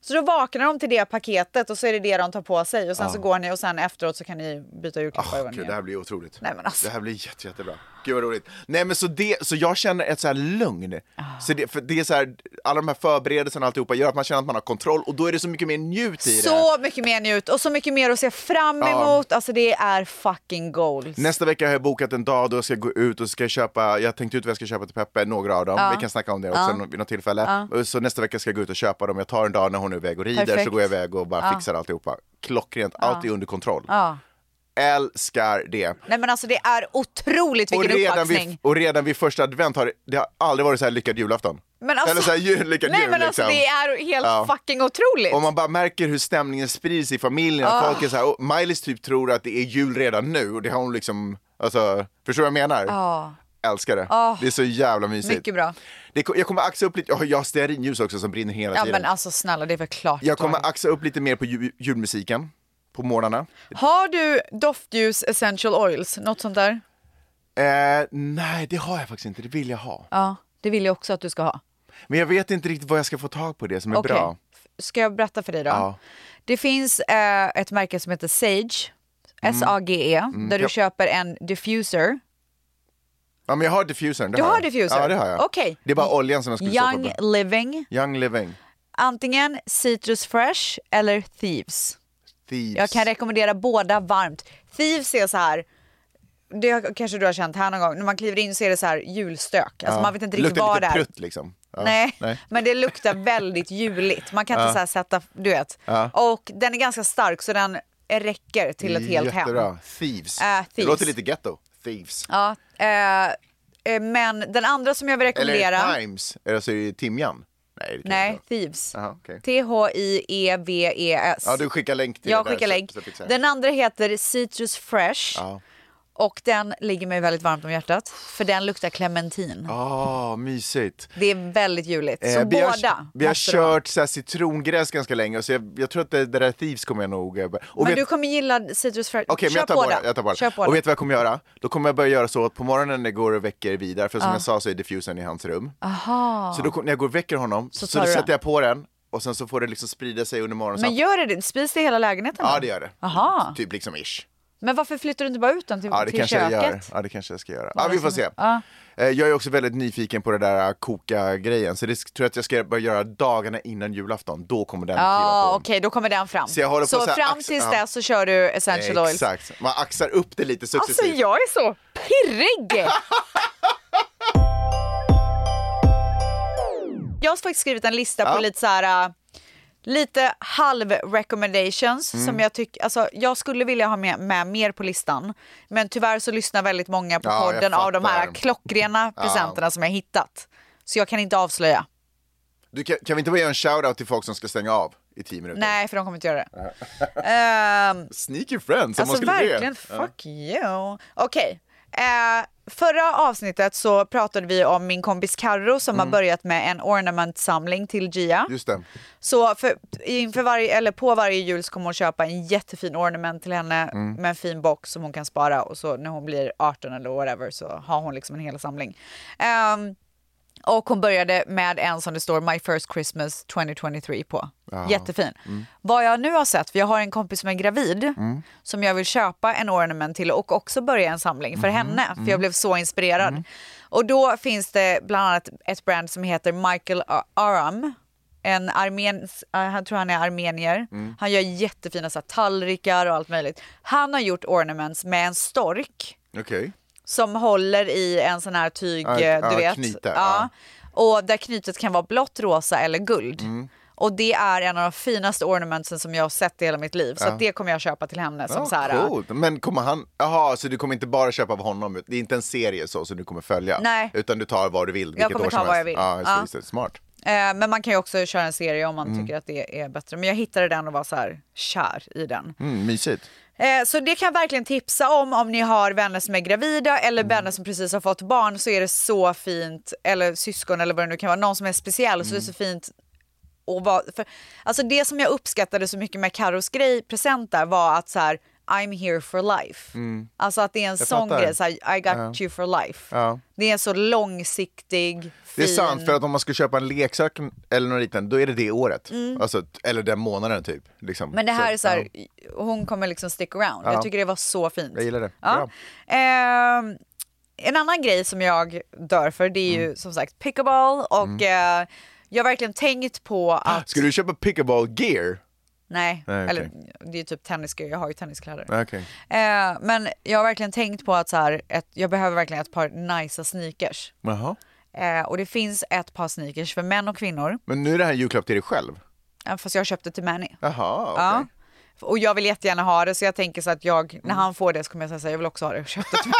Så då vaknar de till det paketet och så är det det de tar på sig och sen så går ni och sen efteråt så kan ni byta julklappar.
Oh,
och
gud, det här blir otroligt.
Nej, men alltså.
Det här blir jätte, jättebra. Gud vad roligt. Nej men så, det, så jag känner ett så här lugn.
Ah.
Så det, för det är så här, alla de här förberedelserna och alltihopa gör att man känner att man har kontroll och då är det så mycket mer njut i det.
Så mycket mer njut och så mycket mer att se fram emot. Alltså det är fucking goals.
Nästa vecka har jag bokat en dag då jag ska gå ut och ska köpa, jag tänkte ut vad jag ska köpa till Peppe, några av dem.
Ah.
Vi kan snacka om det också nå- vid något tillfälle. Så nästa vecka ska jag gå ut och köpa dem. Jag tar en dag när hon är iväg och rider
Perfekt. Ah.
så går jag iväg och bara fixar alltihopa. Klockrent, allt är under kontroll. Älskar det.
Nej men alltså det är otroligt vilken
redan
uppvaxning.
vid, och redan vid första advent har det, det har aldrig varit så här lyckad julafton.
Men alltså-
Eller så här jul, lyckad
Nej
jul
men alltså
liksom.
det är helt
Ja.
fucking otroligt.
Och man bara märker hur stämningen sprids i familjen.
Ah.
Att folk är så här, och Miley's typ tror att det är jul redan nu och det har hon liksom, alltså, förstår du vad jag menar? Älskar det. Det är så jävla mysigt.
Ah. Mycket bra.
Det, ko- jag kommer axa upp lite, jag har- jag har stearinljus också som brinner hela
Ja
tiden.
men alltså snälla det är väl klart.
jag kommer
Tage.
axa upp lite mer på ju, julmusiken på morgnarna.
Har du doftljus essential oils, något sånt där?
Eh, nej, det har jag faktiskt inte, det vill jag ha.
Ja, det vill jag också att du ska ha.
Men jag vet inte riktigt vad jag ska få tag på det som är
Okej.
bra.
F- Ska jag berätta för dig då?
Ja.
Det finns eh, ett märke som heter Sage, S-A-G-E, E. där du
Mm. Ja.
köper en diffuser.
Ja, men jag har diffusern. Det
Du har
jag.
diffuser?
Ja, det har jag.
Okej.
Det är bara oljan som jag skulle stoppa
Young
på.
Living,
Young Living.
antingen Citrus Fresh eller Thieves.
Thieves.
Jag kan rekommendera båda varmt. Thieves är så här, det har- kanske du har känt här någon gång, när man kliver in så är det så här julstök. Alltså
Ja.
man vet inte riktigt
Luktar
vad det
lite
är.
prutt liksom. Ja.
Nej, men det luktar väldigt juligt. Man kan inte så här sätta, du vet. Och den är ganska stark så den räcker till ett helt hem.
Jättebra. Thieves.
Äh,
Det
thieves.
låter lite ghetto. Thieves.
Ja, eh, eh, men den andra som jag vill rekommendera...
Eller Times. Eller så är det alltså timjan. Nej, det kan jag
Nej,
inte.
Thieves.
Jaha, okej.
T-H-I-E-V-E-S.
Ja, du skickar länk till
E jag
det där,
skickar
så-
länk.
så fixar jag.
Den andra heter Citrus Fresh.
Ja.
Och den ligger mig väldigt varmt om hjärtat, för den luktar clementin.
Ah, mysigt.
Det är väldigt juligt. Så
Eh, vi
båda
har, vi har
måste det vara.
kört så här, citrongräs ganska länge, så jag, jag tror att det, det där Thieves kommer jag nog... eh, Och
Men
vet-
du kommer gilla citrusfärg.
Okej, men
Kör
jag tar båda. Jag tar
Kör på
båda. Och
den.
vet du vad jag kommer göra? Då kommer jag börja göra så att på morgonen när jag går och väcker vidare, för som jag sa så är diffusen i hans rum. Så då, kom- när jag går och väcker honom, så,
tar
då
du den.
sätter jag på den och sen så får det liksom sprida sig under morgonen. så
Men
att-
gör det, spis det i hela lägenheten
Ja,
då?
det gör det.
Aha.
Typ liksom ish.
Men varför flyttar du inte bara ut den till,
Ja, det
till
kanske jag
köket?
gör. Ja, det kanske jag ska göra. Ja, vi får se. Eh, Jag är också väldigt nyfiken på det där eh, koka-grejen, så det sk- tror jag att jag ska börja göra dagarna innan julafton. Då kommer den kliva
Ja,
på.
Ah, okej, då kommer den fram.
Så jag håller på så här
fram
ax-
tills
ja.
dess så kör du essential oils.
Exakt. Man axar upp det lite successivt.
Alltså jag är så pirrig! jag har faktiskt skrivit en lista på
Ja.
lite så här... äh, Lite halv recommendations som jag tycker, alltså jag skulle vilja ha med, med mer på listan. Men tyvärr så lyssnar väldigt många på
Ja, jag
podden av de här
fattar.
klockrena presenterna som jag hittat. Så jag kan inte avslöja.
Du, kan, kan vi inte bara göra en shout-out till folk som ska stänga av i tio minuter?
Nej, för de kommer inte göra det. Ehm,
Sneaky friends, om man
Alltså
skulle
verkligen,
be.
fuck you. Okej. Eh, förra avsnittet så pratade vi om min kompis Carro som
Mm.
har börjat med en ornamentsamling till Gia.
Just det.
Så för, inför varje, eller på varje jul så kommer hon köpa en jättefin ornament till henne
Mm.
med en fin box som hon kan spara och så när hon blir 18 eller whatever så har hon liksom en hel samling. Ehm, och hon började med en som det står My first Christmas 2023 på. Jättefin. Vad jag nu har sett, för jag har en kompis som är gravid som jag vill köpa en ornament till och också börja en samling för henne för jag blev så inspirerad. Och då finns det bland annat ett brand som heter Michael Ar- Aram. En armens, eh, han tror han är armenier. Han gör jättefina så här, tallrikar och allt möjligt. Han har gjort ornaments med en stork
Okej.
som håller i en sån här tyg,
Ja,
eh, du
ja,
vet.
knyte,
ja.
ja.
Och där knytet kan vara blått, rosa eller guld.
Mm.
Och det är en av de finaste ornamentsen som jag har sett i hela mitt liv. Så att det kommer jag köpa till henne. Som
Ja,
så här,
coolt. Men kommer han... Jaha, så du kommer inte bara köpa av honom? Det är inte en serie så som du kommer följa?
Nej.
Utan du tar vad du vill? vilket
kommer
år
ta
som
vad
helst.
jag vill.
Ja, just,
Ja.
det, just det. Smart.
Eh, men man kan ju också köra en serie om man
Mm.
tycker att det är bättre. Men jag hittade den och var så här kär i den.
Mm, mysigt.
Eh, så det kan jag verkligen tipsa om om ni har vänner som är gravida eller
Mm.
vänner som precis har fått barn så är det så fint, eller syskon eller vad det nu kan vara, någon som är speciell så är
Mm.
det så fint att vara, för, alltså det som jag uppskattade så mycket med Carros grej, present där var att så här I'm here for life. Alltså att det är en sån
Mm. fattar.
grej, så här, I got you for life.
Ja.
Det är en så långsiktig, fin...
Det är sant, för att om man ska köpa en leksak eller något liknande, då är det det året. Alltså, t- eller den månaden typ. Liksom.
Mm. Men det här är så här,
ja.
hon kommer liksom stick around. Jag tycker det var så fint.
Jag gillar det.
Ja.
Bra.
Ehm, en annan grej som jag dör för det är ju som sagt pickleball och eh, jag har verkligen tänkt på att...
Ska du köpa pickleball gear?
Nej,
Nej,
eller
okej.
det är typ tennisgrejer, jag har ju tenniskläder.
Okej.
Eh, men jag har verkligen tänkt på att så här, ett, jag behöver verkligen ett par nicea sneakers.
Jaha.
Eh, och det finns ett par sneakers för män och kvinnor.
Men nu är det här en julklapp till dig själv?
Eh, Fast jag köpte till Manny.
Jaha, okej.
Ja. Och jag vill jättegärna ha det så jag tänker så att jag, när han får det så kommer jag säga så här, jag vill också ha det. Jag köpte till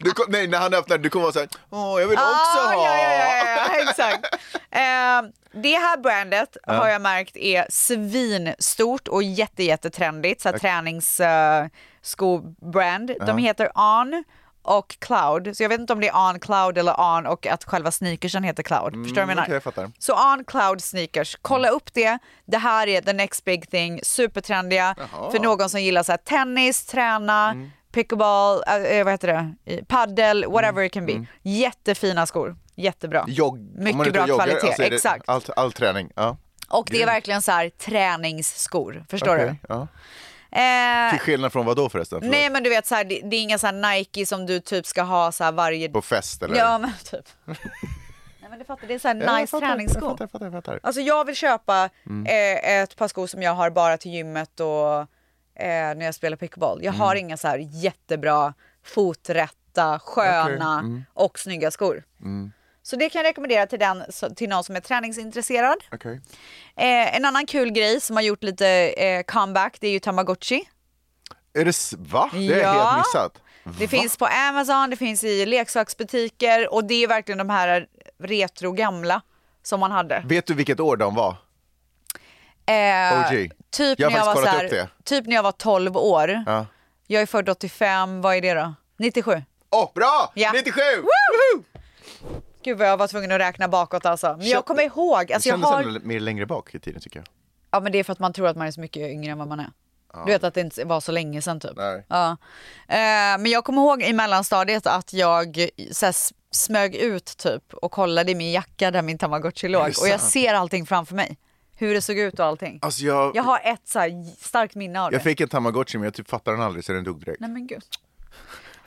Du kom, nej, när han öppnar, du kommer vara såhär, åh, jag vill också
Ah,
ha!
Ja, ja, ja, ja, exakt. Eh, det här brandet har jag märkt är svinstort och jätte, jättetrendigt. Så här träningsskobrand. De heter On och Cloud. Så jag vet inte om det är On Cloud eller On och att själva sneakersen heter Cloud. Förstår du vad jag menar?
Mm, okej, jag fattar.
Så On Cloud Sneakers, kolla upp det. Det här är the next big thing, supertrendiga för någon som gillar så här, tennis, träna,
Mm.
pickleball, äh, eh, vad heter det, Eh, paddel, whatever
Mm,
it can be. Jättefina skor, jättebra.
Jogg, om man är
Mycket
ute
bra
och joggar,
kvalitet,
alltså är det
exakt.
All, all träning, ja.
Och det är verkligen så här träningsskor, förstår
Okej,
du?
ja.
Eh,
Till skillnad från vad då förresten? Förlåt.
nej men du vet så här, det, det är inga så här Nike som du typ ska ha så här varje...
På fest eller?
Ja men typ. nej men du fattar, det är så här
Ja, jag
nice
fattar,
träningsskor.
Jag fattar, Mm. jag fattar, jag fattar.
Alltså jag vill köpa eh, ett par skor som jag har bara till gymmet och eh, när jag spelar pickleball. Jag har
Mm.
inga så här jättebra foträtta, sköna
mm.
och snygga skor. Så det kan jag rekommendera till, den, så- till någon som är träningsintresserad.
Okej.
Eh, en annan kul grej som har gjort lite eh, comeback det är ju Tamagotchi.
Är det, s- va? Det har
Ja.
jag helt missat.
Det finns på Amazon, det finns i leksaksbutiker och det är verkligen de här retro gamla som man hade.
Vet du vilket år de var?
Eh,
OG.
Typ,
Jag har
när jag
faktiskt
var
kollat
så här,
upp det.
typ när jag var 12 år.
Ja.
Jag är född 85, vad är det då? 97?
Åh, bra!
Ja.
97!
Woo! Gud vad jag var tvungen att räkna bakåt alltså. Men jag kommer ihåg, alltså jag
kändes
har...
ändå mer längre bak i tiden tycker jag.
Ja men det är för att man tror att man är så mycket yngre än vad man är. Du vet att det inte var så länge sedan typ.
Nej.
Ja. Eh, men jag kommer ihåg i mellanstadiet att jag så här, s- smög ut typ och kollade i min jacka där min tamagotchi låg och jag ser allting framför mig. Hur det såg ut och allting.
Alltså jag,
Jag
jag,
har ett så här, starkt minne av det.
fick en tamagotchi men jag typ fattade den aldrig så den dog direkt.
Nej men gud.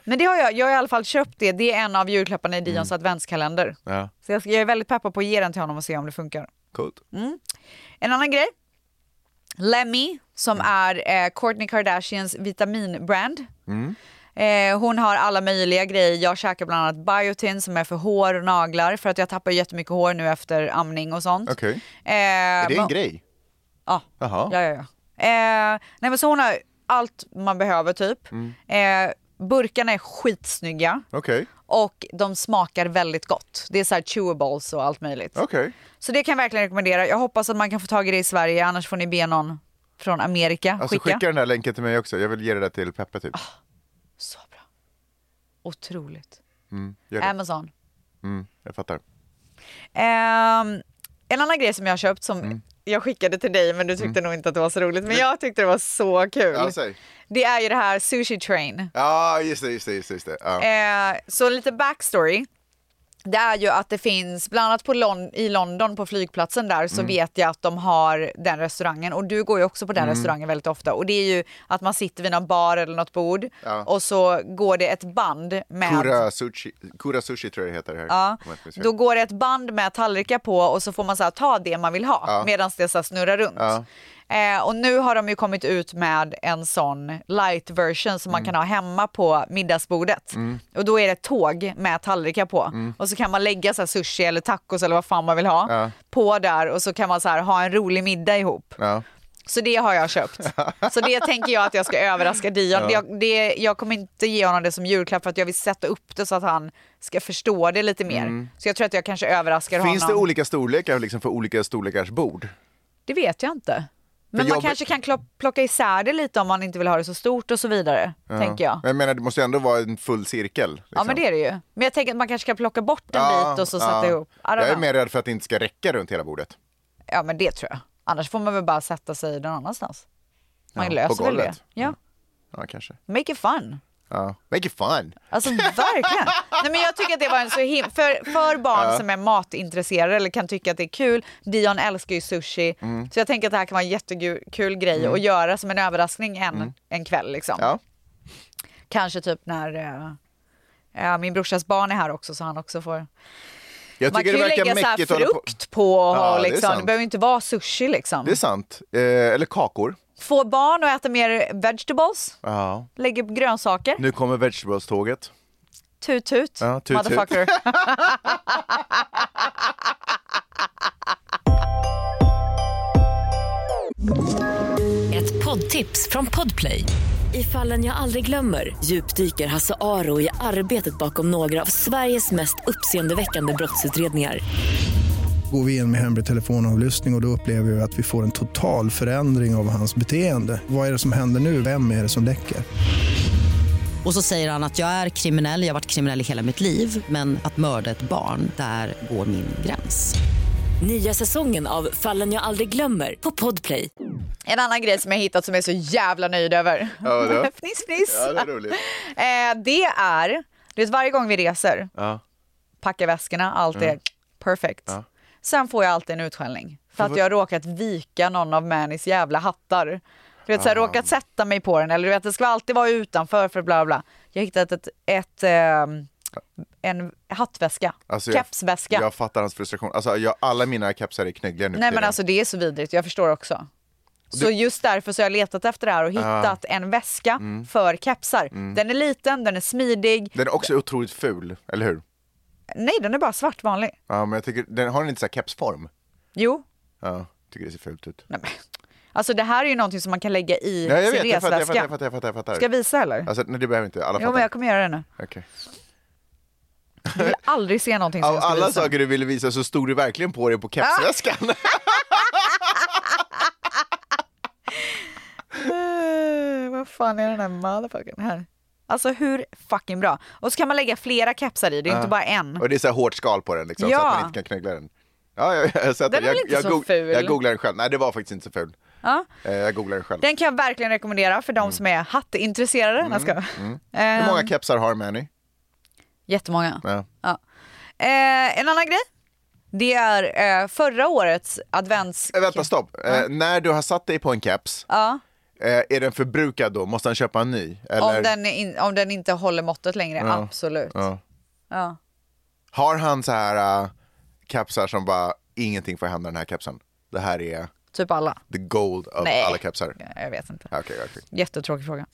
Men det har jag, jag har i alla fall köpt det. Det är en av julklapparna i Dions
Mm.
adventskalender.
Ja,
Så jag, ska- jag är väldigt peppad på att ge den till honom och se om det funkar.
coolt.
Mm. En annan grej. Lemmy,
Mm.
som är eh, Kourtney Kardashians vitaminbrand.
Mm.
Eh, hon har alla möjliga grejer. Jag käkar bland annat biotin som är för hår och naglar för att jag tappar jättemycket hår nu efter amning och sånt.
Okej.
Eh,
Är det en grej?
Ja.
Jaha.
Ja, ja, ja. Eh, nej, men så hon har allt man behöver typ.
Mm.
Eh, burkarna är skitsnygga
Okej.
och de smakar väldigt gott. Det är så här chewables och allt möjligt.
Okej.
Så det kan jag verkligen rekommendera. Jag hoppas att man kan få tag i det i Sverige, annars får ni be någon från Amerika
Alltså
skicka. Ah,
skicka den här länken till mig också. Jag vill ge det där till Peppe typ.
Så bra. Otroligt.
Mm, gör det.
Amazon.
Mm, jag fattar.
Ehm, en annan grej som jag har köpt som
Mm.
jag skickade till dig men du tyckte nog inte att det var så roligt. Men jag tyckte det var så kul.
Ja, säg.
det är ju det här Sushi Train.
Ja, just det, just det, just det, just det. Ja.
Eh, så lite backstory. Det är ju att det finns, bland annat på Lon- i London på flygplatsen där så
Mm.
vet jag att de har den restaurangen och du går ju också på
Mm.
den restaurangen väldigt ofta och det är ju att man sitter vid någon bar eller något bord
Ja.
och så går det ett band med
Kura sushi, Kura sushi tror jag det heter här.
Ja,
Om jag inte minns fel.
då går det ett band med tallrikar på och så får man så här, ta det man vill ha medan det så här, snurrar runt.
Ja.
Eh, och nu har de ju kommit ut med en sån light version
Mm.
som man kan ha hemma på middagsbordet. Och då är det ett tåg med tallrikar på och så kan man lägga så här, sushi eller tacos eller vad fan man vill ha
Mm. Ja.
på där och så kan man så här, ha en rolig middag ihop.
Ja.
Så det har jag köpt. Så det tänker jag att jag ska överraska Dion. Jag, det, jag kommer inte ge honom det som julklapp för att jag vill sätta upp det så att han ska förstå det lite mer. Så jag tror att jag kanske överraskar
Mm. Finns det
honom.
olika storlekar liksom, för olika storlekars bord?
det vet jag inte. Men
För
man
jag-
kanske kan klo- plocka isär det lite om man inte vill ha det så stort och så vidare. Tänker jag.
Men jag menar, det måste ändå vara en full cirkel. Liksom.
Ja men det är det ju. Men jag tänker att man kanske kan plocka bort en
Ja,
bit och så
ja.
sätta ihop. I don't
Jag är
know.
mer rädd för att det inte ska räcka runt hela bordet.
Ja men det tror jag. Annars får man väl bara sätta sig någon annanstans. Man
Ja, på
löser väl det.
golvet.
Ja.
Ja, kanske.
Make it fun.
Ja. Make it fun!
Alltså verkligen. Nej, men jag tycker att det var en så him- för, för barn som är matintresserade eller kan tycka att det är kul. Dion älskar ju sushi.
Mm.
Så jag tänker att det här kan vara en jättekul grej att göra som en överraskning en, en kväll. Liksom.
Mm. Ja.
Kanske typ när eh, eh, min brorsas barn är här också så han också får...
Jag
Man kan
tycker
ju
det verkar
lägga så här
mäckigt att hålla på.
frukt på och
Ja,
ha
det är
liksom. Det,
sant.
behöver ju inte vara sushi liksom.
Det är sant. Eh, eller kakor.
Få barn att äta mer vegetables,
Ja.
lägga upp grönsaker.
Nu kommer vegetables-tåget.
Tut tut,
Ja, tut, tut.
motherfucker.
Ett poddtips från Podplay. I fallen jag aldrig glömmer djupdyker Hasse Aro i arbetet bakom några av Sveriges mest uppseendeväckande brottsutredningar.
Går vi in med hemlig telefonavlyssning och, och då upplever vi att vi får en total förändring av hans beteende. Vad är det som händer nu? Vem är det som läcker?
Och så säger han att jag är kriminell, jag har varit kriminell i hela mitt liv men att mörda ett barn, där går min gräns.
Nya säsongen av Fallen jag aldrig glömmer på Podplay.
En annan grej som jag hittat som jag är så jävla nöjd över.
vadå?
fniss fniss.
Ja, det är roligt.
Eh, det är, du vet varje gång vi reser,
Ja. Mm.
packar väskorna, allt är perfekt. Sen får jag alltid en utskällning för att jag har råkat vika någon av Mannys jävla hattar. Du vet, så här,
Ah.
råkat sätta mig på den eller du vet, det ska alltid vara utanför för bla bla. Jag har hittat ett, ett ehm, en hattväska,
Alltså, jag-
kepsväska.
Jag fattar hans frustration. Alltså, jag, alla mina kepsar är knöggliga nu.
Nej
för
men
tiden.
alltså det är så vidrigt, jag förstår också. Så just därför så har jag letat efter det här och hittat en väska
Mm.
för kepsar. Den är liten, den är smidig.
Den är också otroligt ful, eller hur?
Nej den är bara svart vanlig.
Ja, men jag tycker, den har den inte så här kepsform?
Jo.
Ja, tycker det ser fult ut.
Nej, men. Alltså det här är ju någonting som man kan lägga i
Ja, jag
sin
vet, jag fattar, jag fattar, jag
resväska.
fattar. Jag fattar, jag fattar.
Ska jag visa eller?
Alltså, nej, det behöver inte. Alla
jo men
fattar.
jag kommer göra det nu.
Okej.
Jag vill aldrig se någonting som
Av
jag ska
alla
visa.
saker du ville visa så stod du verkligen på
Ah!
dig på kepsväskan.
Eh, Vad vad fan är den här motherfuckern här? Alltså hur fucking bra. Och så kan man lägga flera kepsar i, det är inte bara en.
Och det är så här hårt skal på den liksom,
Ja.
så att man inte kan knöggla den. Ja, jag, jag, har sett
Den är
jag,
väl inte
jag,
så
goog-
ful?
jag googlar den själv. Nej, det var faktiskt inte så ful.
Ja.
Eh, Jag googlar den själv.
Den kan jag verkligen rekommendera för de som är hattintresserade. Mm. Ska.
Mm. Hur många
Eh,
kepsar har Mani?
jättemånga.
Ja.
Ja. Eh, en annan grej, det är eh, förra årets advents...
Eh, Vänta, stopp. Eh, när du har satt dig på en keps,
Ja,
eh, är den förbrukad då? Måste han köpa en ny? Eller...
om, den är in, om den inte håller måttet längre, absolut. Ja.
Ja. Har han så här eh, kepsar som bara, ingenting får hända den här kepsen? Det här är
Typ alla.
the gold of
Nej.
alla kepsar.
Ja, Jag vet inte.
Ja, Okej, okej.
Jättetråkig fråga.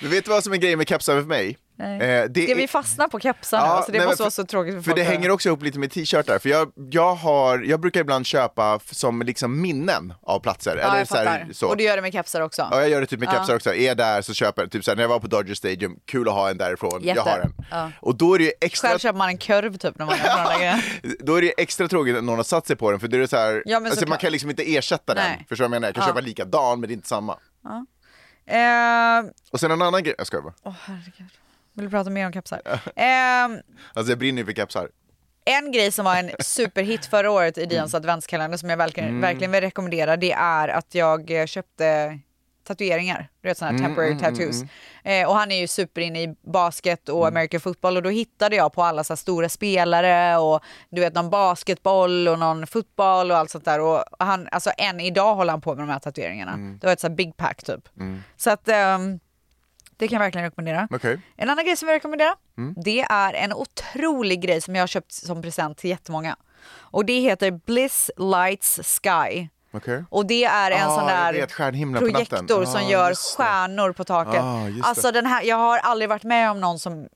Du vet vad som är grejen med kepsar för mig?
Nej.
Eh, det
Ska vi
är-
fastna på kepsarna? alltså det
nej, men
måste
för-
vara så tråkigt för,
För
folk
det
att
hänger
höra.
också ihop lite med t-shirtar, för jag, jag, har, jag brukar ibland köpa f- som liksom minnen av platser.
Ja,
eller
jag
så här,
fattar.
så.
Och du gör det med kepsar också?
Ja, jag gör det typ med kepsar också. Är där så köper jag, typ så här, när jag var på Dodger Stadium, kul att ha en därifrån,
Jätte.
jag har en.
Ja.
Och då är det ju
Själv
extra,
köper man en kurv typ när man gör sådana där grejer.
då är det ju extra tråkigt att någon har satt sig på den, för det är så här,
Ja, men
alltså, man
såklart.
kan liksom inte ersätta
Nej.
den. Förstår du vad jag menar? Jag kan köpa likadan, men det är inte samma.
Eh,
Och sen en annan grej, jag skojar bara.
Åh herregud. Vill du prata mer om kepsar? Ehm,
Alltså jag brinner ju för kepsar.
en grej som var en superhit förra året i Dians adventskalender som jag verkligen, verkligen vill rekommendera det är att jag eh, köpte tatueringar, du vet sådana här temporary tattoos. Eh, och han är ju superinne i basket och American football och då hittade jag på alla så här stora spelare och du vet någon basketboll och någon fotboll och allt sånt där och han, alltså än idag håller han på med de här tatueringarna. Det var ett så här big pack typ. Så att ehm, det kan jag verkligen rekommendera.
Okej.
En annan grej som jag rekommenderar, det är en otrolig grej som jag har köpt som present till jättemånga. Och det heter Bliss Lights Sky.
Okej.
Och det är en
Ah,
sån
jag
där
vet, stjärnhimlen på natten.
projektor som
Ah,
gör
just det.
stjärnor på taket.
Ah, just det.
alltså den här, jag har aldrig varit med om någon som,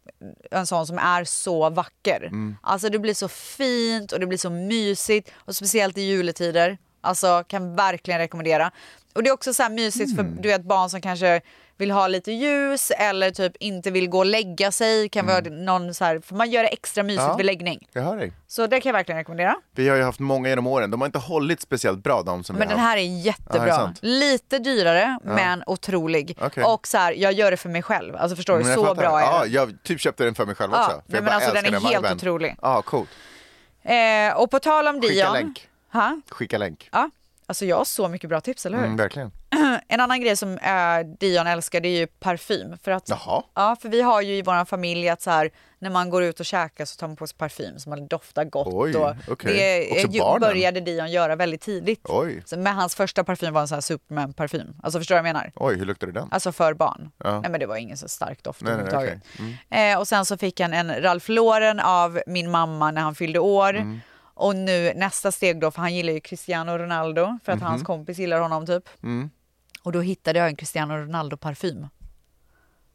en sån som är så vacker.
Mm.
Alltså det blir så fint och det blir så mysigt och speciellt i juletider. Alltså kan verkligen rekommendera. Och det är också så här mysigt
Mm.
för du vet barn som kanske vill ha lite ljus eller typ inte vill gå och lägga sig. Kan vara någon så här, för man gör det extra mysigt
Mm. Ja.
vid läggning.
Jag hör dig.
Så det kan jag verkligen rekommendera.
Vi har ju haft många genom åren, de har inte hållit speciellt bra de som
Men
vi
den
har haft.
här är
Ja, det är
jättebra.
sant.
Lite dyrare men otrolig.
Okej.
Och så här, jag gör det för mig själv. Alltså förstår du,
Men jag
så
fattar.
bra är
Ja,
den.
jag typ köpte den för mig själv
Ja,
också. För
nej,
jag
men
bara
alltså, den
älskar
är helt
viben.
otrolig.
Ja, coolt.
Eh, och på tal om
Skicka
Dion.
länk.
Ha?
Skicka länk.
Ja. Alltså jag har så mycket bra tips, eller hur?
Mm, verkligen.
En annan grej som eh, Dion älskar det är ju parfym. För att,
Jaha.
Ja, för vi har ju i vår familj att så här, när man går ut och käkar så tar man på sig parfym så man doftar gott.
Oj,
och
okej.
Det
Också
eh, ju-
barnen?
började Dion göra väldigt tidigt.
Oj.
Så, men hans första parfym var en sån här Superman-parfym. Alltså förstår du vad jag menar?
Oj, hur luktar det den?
Alltså för barn.
Ja.
Nej men det var ingen så stark doft
Nej, Mm. nej,
överhuvudtaget. Eh, och sen så fick han en Ralph Lauren av min mamma när han fyllde år.
Mm.
Och nu nästa steg då, för han gillar ju Cristiano Ronaldo för att
Mhm.
hans kompis gillar honom typ.
Mm.
Och då hittade jag en Cristiano Ronaldo parfym.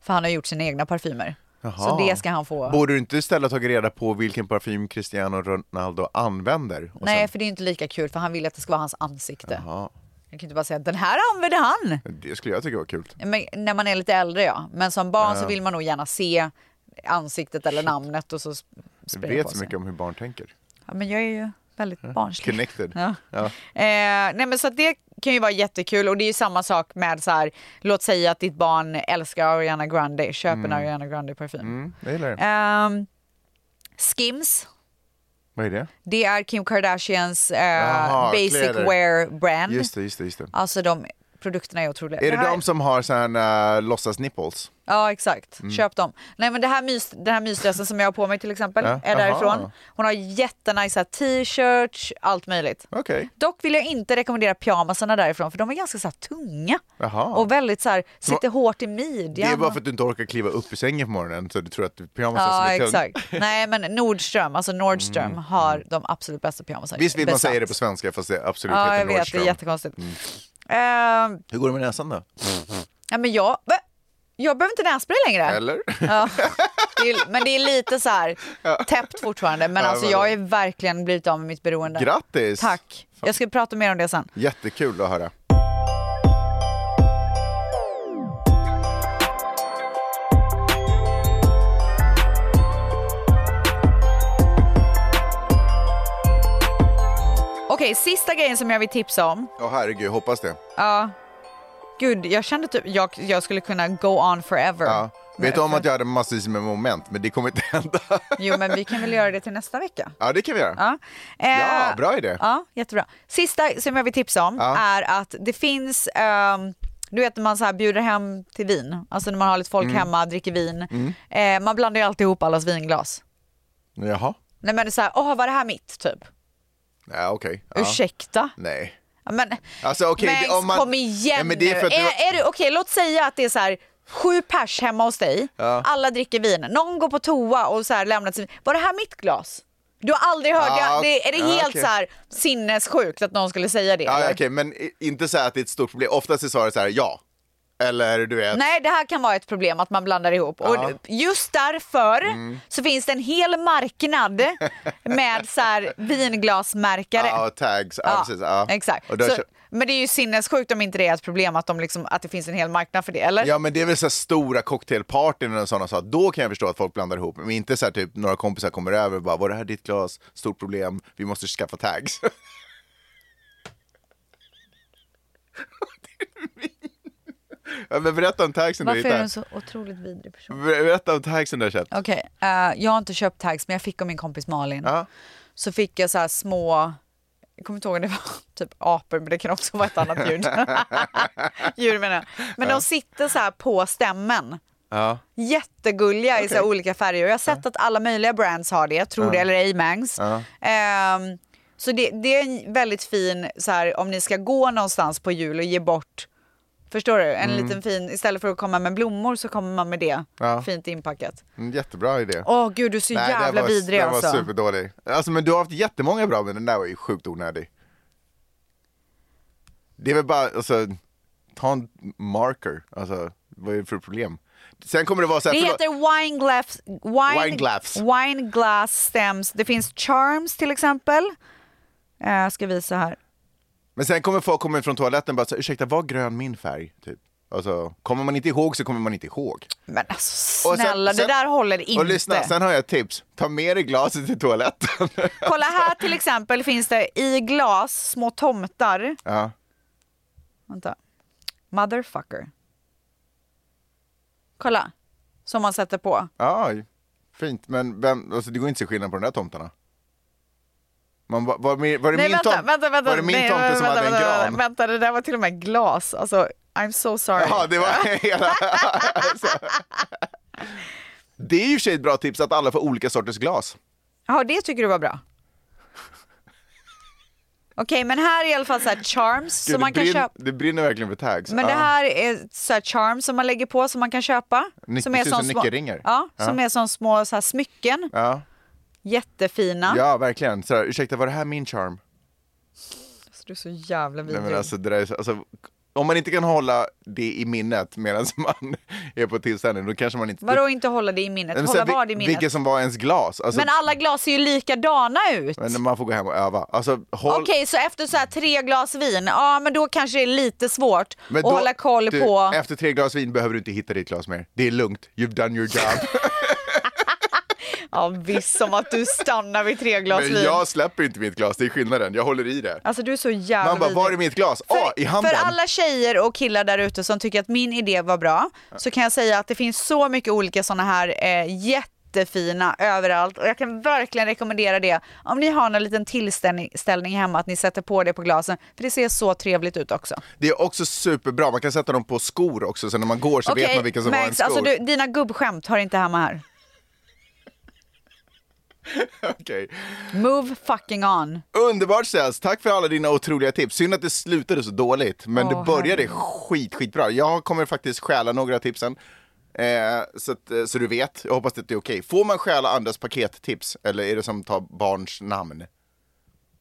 För han har gjort sina egna parfymer. Så
Jaha.
det ska han få.
Borde du inte istället ha tagit reda på vilken parfym Cristiano Ronaldo använder? Och
Nej
sen-
för det är inte lika kul för han vill att det ska vara hans ansikte.
Jaha.
Jag kan inte bara säga den här använder han.
Det skulle jag tycka var kul.
Men när man är lite äldre ja. Men som barn så vill man nog gärna se ansiktet eller namnet och så sp-
Du
spraya
vet
på
så
sig.
mycket om hur barn tänker.
Ja, men jag är ju väldigt barnslig.
Connected.
Ja.
Ja.
Eh, nej men så att det kan ju vara jättekul och det är ju samma sak med så här, låt säga att ditt barn älskar Ariana Grande, köp en Ariana Grande parfym.
Mm, jag gillar det.
Ehm, Skims,
Vad är det?
det är Kim Kardashians eh,
Jaha,
basic
kläder.
wear brand.
Just det, just det, just det.
Alltså de produkterna är otroliga.
Är
Det
det
här-
de som har sådana äh, låtsas nipples?
Ja exakt,
Mm.
köp dem. Nej men det här mys, den här mysdressen som jag har på mig till exempel
Ja,
är
aha.
därifrån. Hon har jättenajsa t-shirts, allt möjligt.
Okej.
Dock vill jag inte rekommendera pyjamasarna därifrån för de är ganska så här tunga
Jaha.
och väldigt så här, sitter
Så-
hårt i midjan.
Det är bara för att du inte orkar kliva upp ur sängen på morgonen så du tror att pyjamasen
Ja
är tung.
exakt. Nej men Nordström, alltså Nordström har de absolut bästa pyjamasarna.
mm. Visst vill man
Besatt.
säga det på svenska fast det absolut
Ja jag
heter
vet,
Nordström. Mm.
det är jättekonstigt. Eh,
Hur går det med näsan då?
ja, men jag, va? jag behöver inte nässpray längre.
Eller?
Ja. Det är, men det är lite så här täppt fortfarande. Men
Ja,
alltså
men-
jag är verkligen blivit av med mitt beroende.
Grattis!
Tack. Jag ska prata mer om det sen.
Jättekul att höra.
Okej, Okej, sista grejen som jag vill tipsa om.
Ja, herregud, hoppas det.
Ja. Gud, jag kände typ jag, jag skulle kunna go on forever.
Ja. Vet du om att jag hade massvis med moment, men det kommer inte hända.
Jo, men vi kan väl göra det till nästa vecka.
Ja, det kan vi göra.
Ja, Eh,
Ja, bra idé.
Ja, jättebra. Sista som jag vill tipsa om
Ja.
är att det finns, ehm, du vet när man så här bjuder hem till vin, alltså när man har lite
Mm.
folk hemma, dricker vin. Eh, man blandar ju alltid ihop allas vinglas.
Jaha.
Nej men det är så här, åh var det här mitt? Typ.
Ja, okej. Ja.
Ursäkta?
Nej.
Ja, Men,
Alltså, okej, det-
men
om man-
kom igen
Ja, men det är för att
nu.
du-
Är, är du, okej, låt säga att det är så här, sju pers hemma hos dig, alla dricker vin, någon går på toa och så här lämnar sin... Var det här mitt glas? Du har aldrig hört
Ja,
det, det, är det
ja,
helt
okej.
så här sinnessjukt att någon skulle säga det?
Ja,
eller?
okej, men i- inte så här att det är ett stort problem. Oftast är svaret så här, ja. Eller du vet.
Nej, det här kan vara ett problem att man blandar ihop. Och just därför
Mm.
så finns det en hel marknad med så här vinglasmärkare.
Ja, tags. Ja, precis. Ja.
Exakt.
Och då,
Så, men det är ju sinnessjukt om inte det är ett problem att, de liksom, att det finns en hel marknad för det, eller?
Ja men det är väl så här stora cocktailpartyn och sådana saker, då kan jag förstå att folk blandar ihop. Men inte så här typ några kompisar kommer över och bara var det här ditt glas? Stort problem, vi måste skaffa tags. ja, men berätta om tagsen du
Varför är du
hittade.
en så otroligt vidrig person?
Ber- Berätta om tagsen du har köpt.
Okej, eh, jag har inte köpt tags men jag fick av min kompis Malin.
Ja.
Så fick jag så här små, jag kommer inte ihåg om det var typ apor men det kan också vara ett annat ljud. Djur menar jag. Men de sitter så här på stämmen.
Ja.
Jättegulliga i så här olika färger. Jag har sett att alla möjliga brands har det, tror det eller ej Mangs. Ehm, så det, det är en väldigt fin, så här, om ni ska gå någonstans på jul och ge bort Förstår du? En liten fin, istället för att komma med blommor så kommer man med det
Mm. Ja.
fint inpackat.
En Mm, jättebra idé.
Åh gud, du är så
Nej, den
jävla
var,
vidrig
den
alltså.
var superdålig. Alltså men du har haft jättemånga bra, men den där var ju sjukt onödig. Det är väl bara, alltså, ta en marker, alltså vad är det för problem? Sen kommer det vara så här,
Det
förlåt-
heter wineglass, wine,
Wineglass.
wineglass stems. Det finns charms till exempel. Eh, Jag ska visa här.
men sen kommer folk komma från toaletten och bara så här, ursäkta var grön min färg? Typ. Alltså, kommer man inte ihåg så kommer man inte ihåg.
Men
Och
alltså
sen-
snälla,
sen-
det där håller inte.
Och lyssna, sen har jag ett tips, ta med dig glaset till toaletten.
Kolla här till exempel finns det i glas små tomtar.
ja.
Vänta. Motherfucker. Kolla. Som man sätter på.
Ja, fint. Men vem, alltså, det går inte att se skillnad på de där tomtarna. Man, var, var, var, var det
Nej
min,
vänta,
tom,
vänta, vänta.
var det min
Nej,
tomte
vänta,
som
vänta,
hade en
vänta,
gran?
Vänta, vänta, det där var till och med glas. Alltså, I'm so sorry.
Ja, det var hela... alltså. Det är ju i och för sig ett bra tips att alla får olika sorters glas.
Ja, det tycker du var bra. Okej, men här är i alla fall så här charms
Gud,
som man
det,
kan
brinn-
köpa.
det brinner verkligen för tags.
Men det
Ja.
här är så här charms som man lägger på som man kan köpa.
Nyc-
som
precis som
små,
nyckelringar.
Ja,
Ja.
som är som små så här smycken.
Ja,
Jättefina.
ja verkligen. Så här, ursäkta, var det här min charm?
Alltså, du är så jävla
Nej,
vidrig.
men alltså, det där är, så- alltså, om man inte kan hålla det i minnet medan man är på tillställningen, då kanske man inte...
Vadå inte hålla det i minnet?
Nej, men så
hålla
här,
vad i minnet?
Vilket som var ens glas. Alltså,
Men alla glas ser ju likadana ut.
Men man får gå hem och öva. Alltså, håll...
Okej, så efter så här tre glas vin, ja men då kanske det är lite svårt
Men
att
då-
hålla koll
du,
på...
Efter tre glas vin behöver du inte hitta ditt glas mer. Det är lugnt, you've done your job.
Ja visst, som att du stannar vid tre glas
Men
vin.
jag släpper inte mitt glas, det är skillnaden. Jag håller i det.
Alltså du är så jävla
Man bara, var är
vidrig.
mitt glas?
För,
ah, i handen.
för alla tjejer och killar där ute som tycker att min idé var bra så kan jag säga att det finns så mycket olika sådana här eh, jättefina överallt och jag kan verkligen rekommendera det om ni har en liten tillställning ställning hemma att ni sätter på det på glasen för det ser så trevligt ut också.
Det är också superbra, man kan sätta dem på skor också, så när man går så vet man vilka som var en
Max,
skor.
alltså du, dina gubbskämt hör inte hemma här.
Okej.
Move fucking on.
Underbart Sels, tack för alla dina otroliga tips. Synd att det slutade så dåligt, men
Åh,
det började skit, skitbra. Jag kommer faktiskt stjäla några av tipsen. Eh, så, att, eh, så du vet, jag hoppas att det är okej. Får man stjäla andras pakettips eller är det som tar barns namn?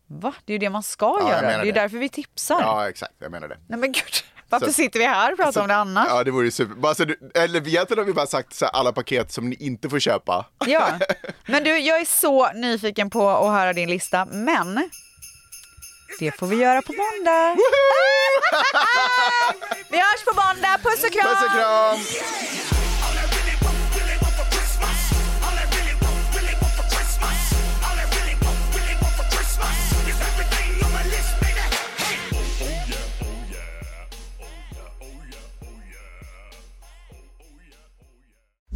Va? Det är ju det man ska
jag
göra. Det
menar
är ju
det.
därför vi tipsar.
Ja, exakt, jag menar det.
Nej men gud, varför
Så-
sitter vi här och pratar om det annars?
Ja, det vore ju super. Bara så du, eller egentligen har vi bara sagt så här, alla paket som ni inte får köpa.
Ja, men du, jag är så nyfiken på att höra din lista, men det får vi göra på måndag. vi hörs på måndag, puss och kram!
Puss och kram!
All I really want, really want for Christmas is everything on my list. Oh,